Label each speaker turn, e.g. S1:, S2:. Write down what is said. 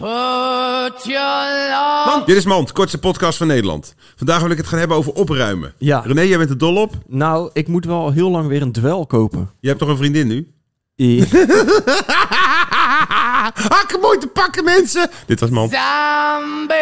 S1: Put your love.
S2: Dit is Mand, kortste podcast van Nederland. Vandaag wil ik het gaan hebben over opruimen.
S3: Ja.
S2: René, jij bent er dol op.
S3: Nou, ik moet wel heel lang weer een dwel kopen.
S2: Je hebt toch een vriendin nu?
S3: I-
S2: Hakken mooi te pakken, mensen! Dit was Mand.
S1: Zombie.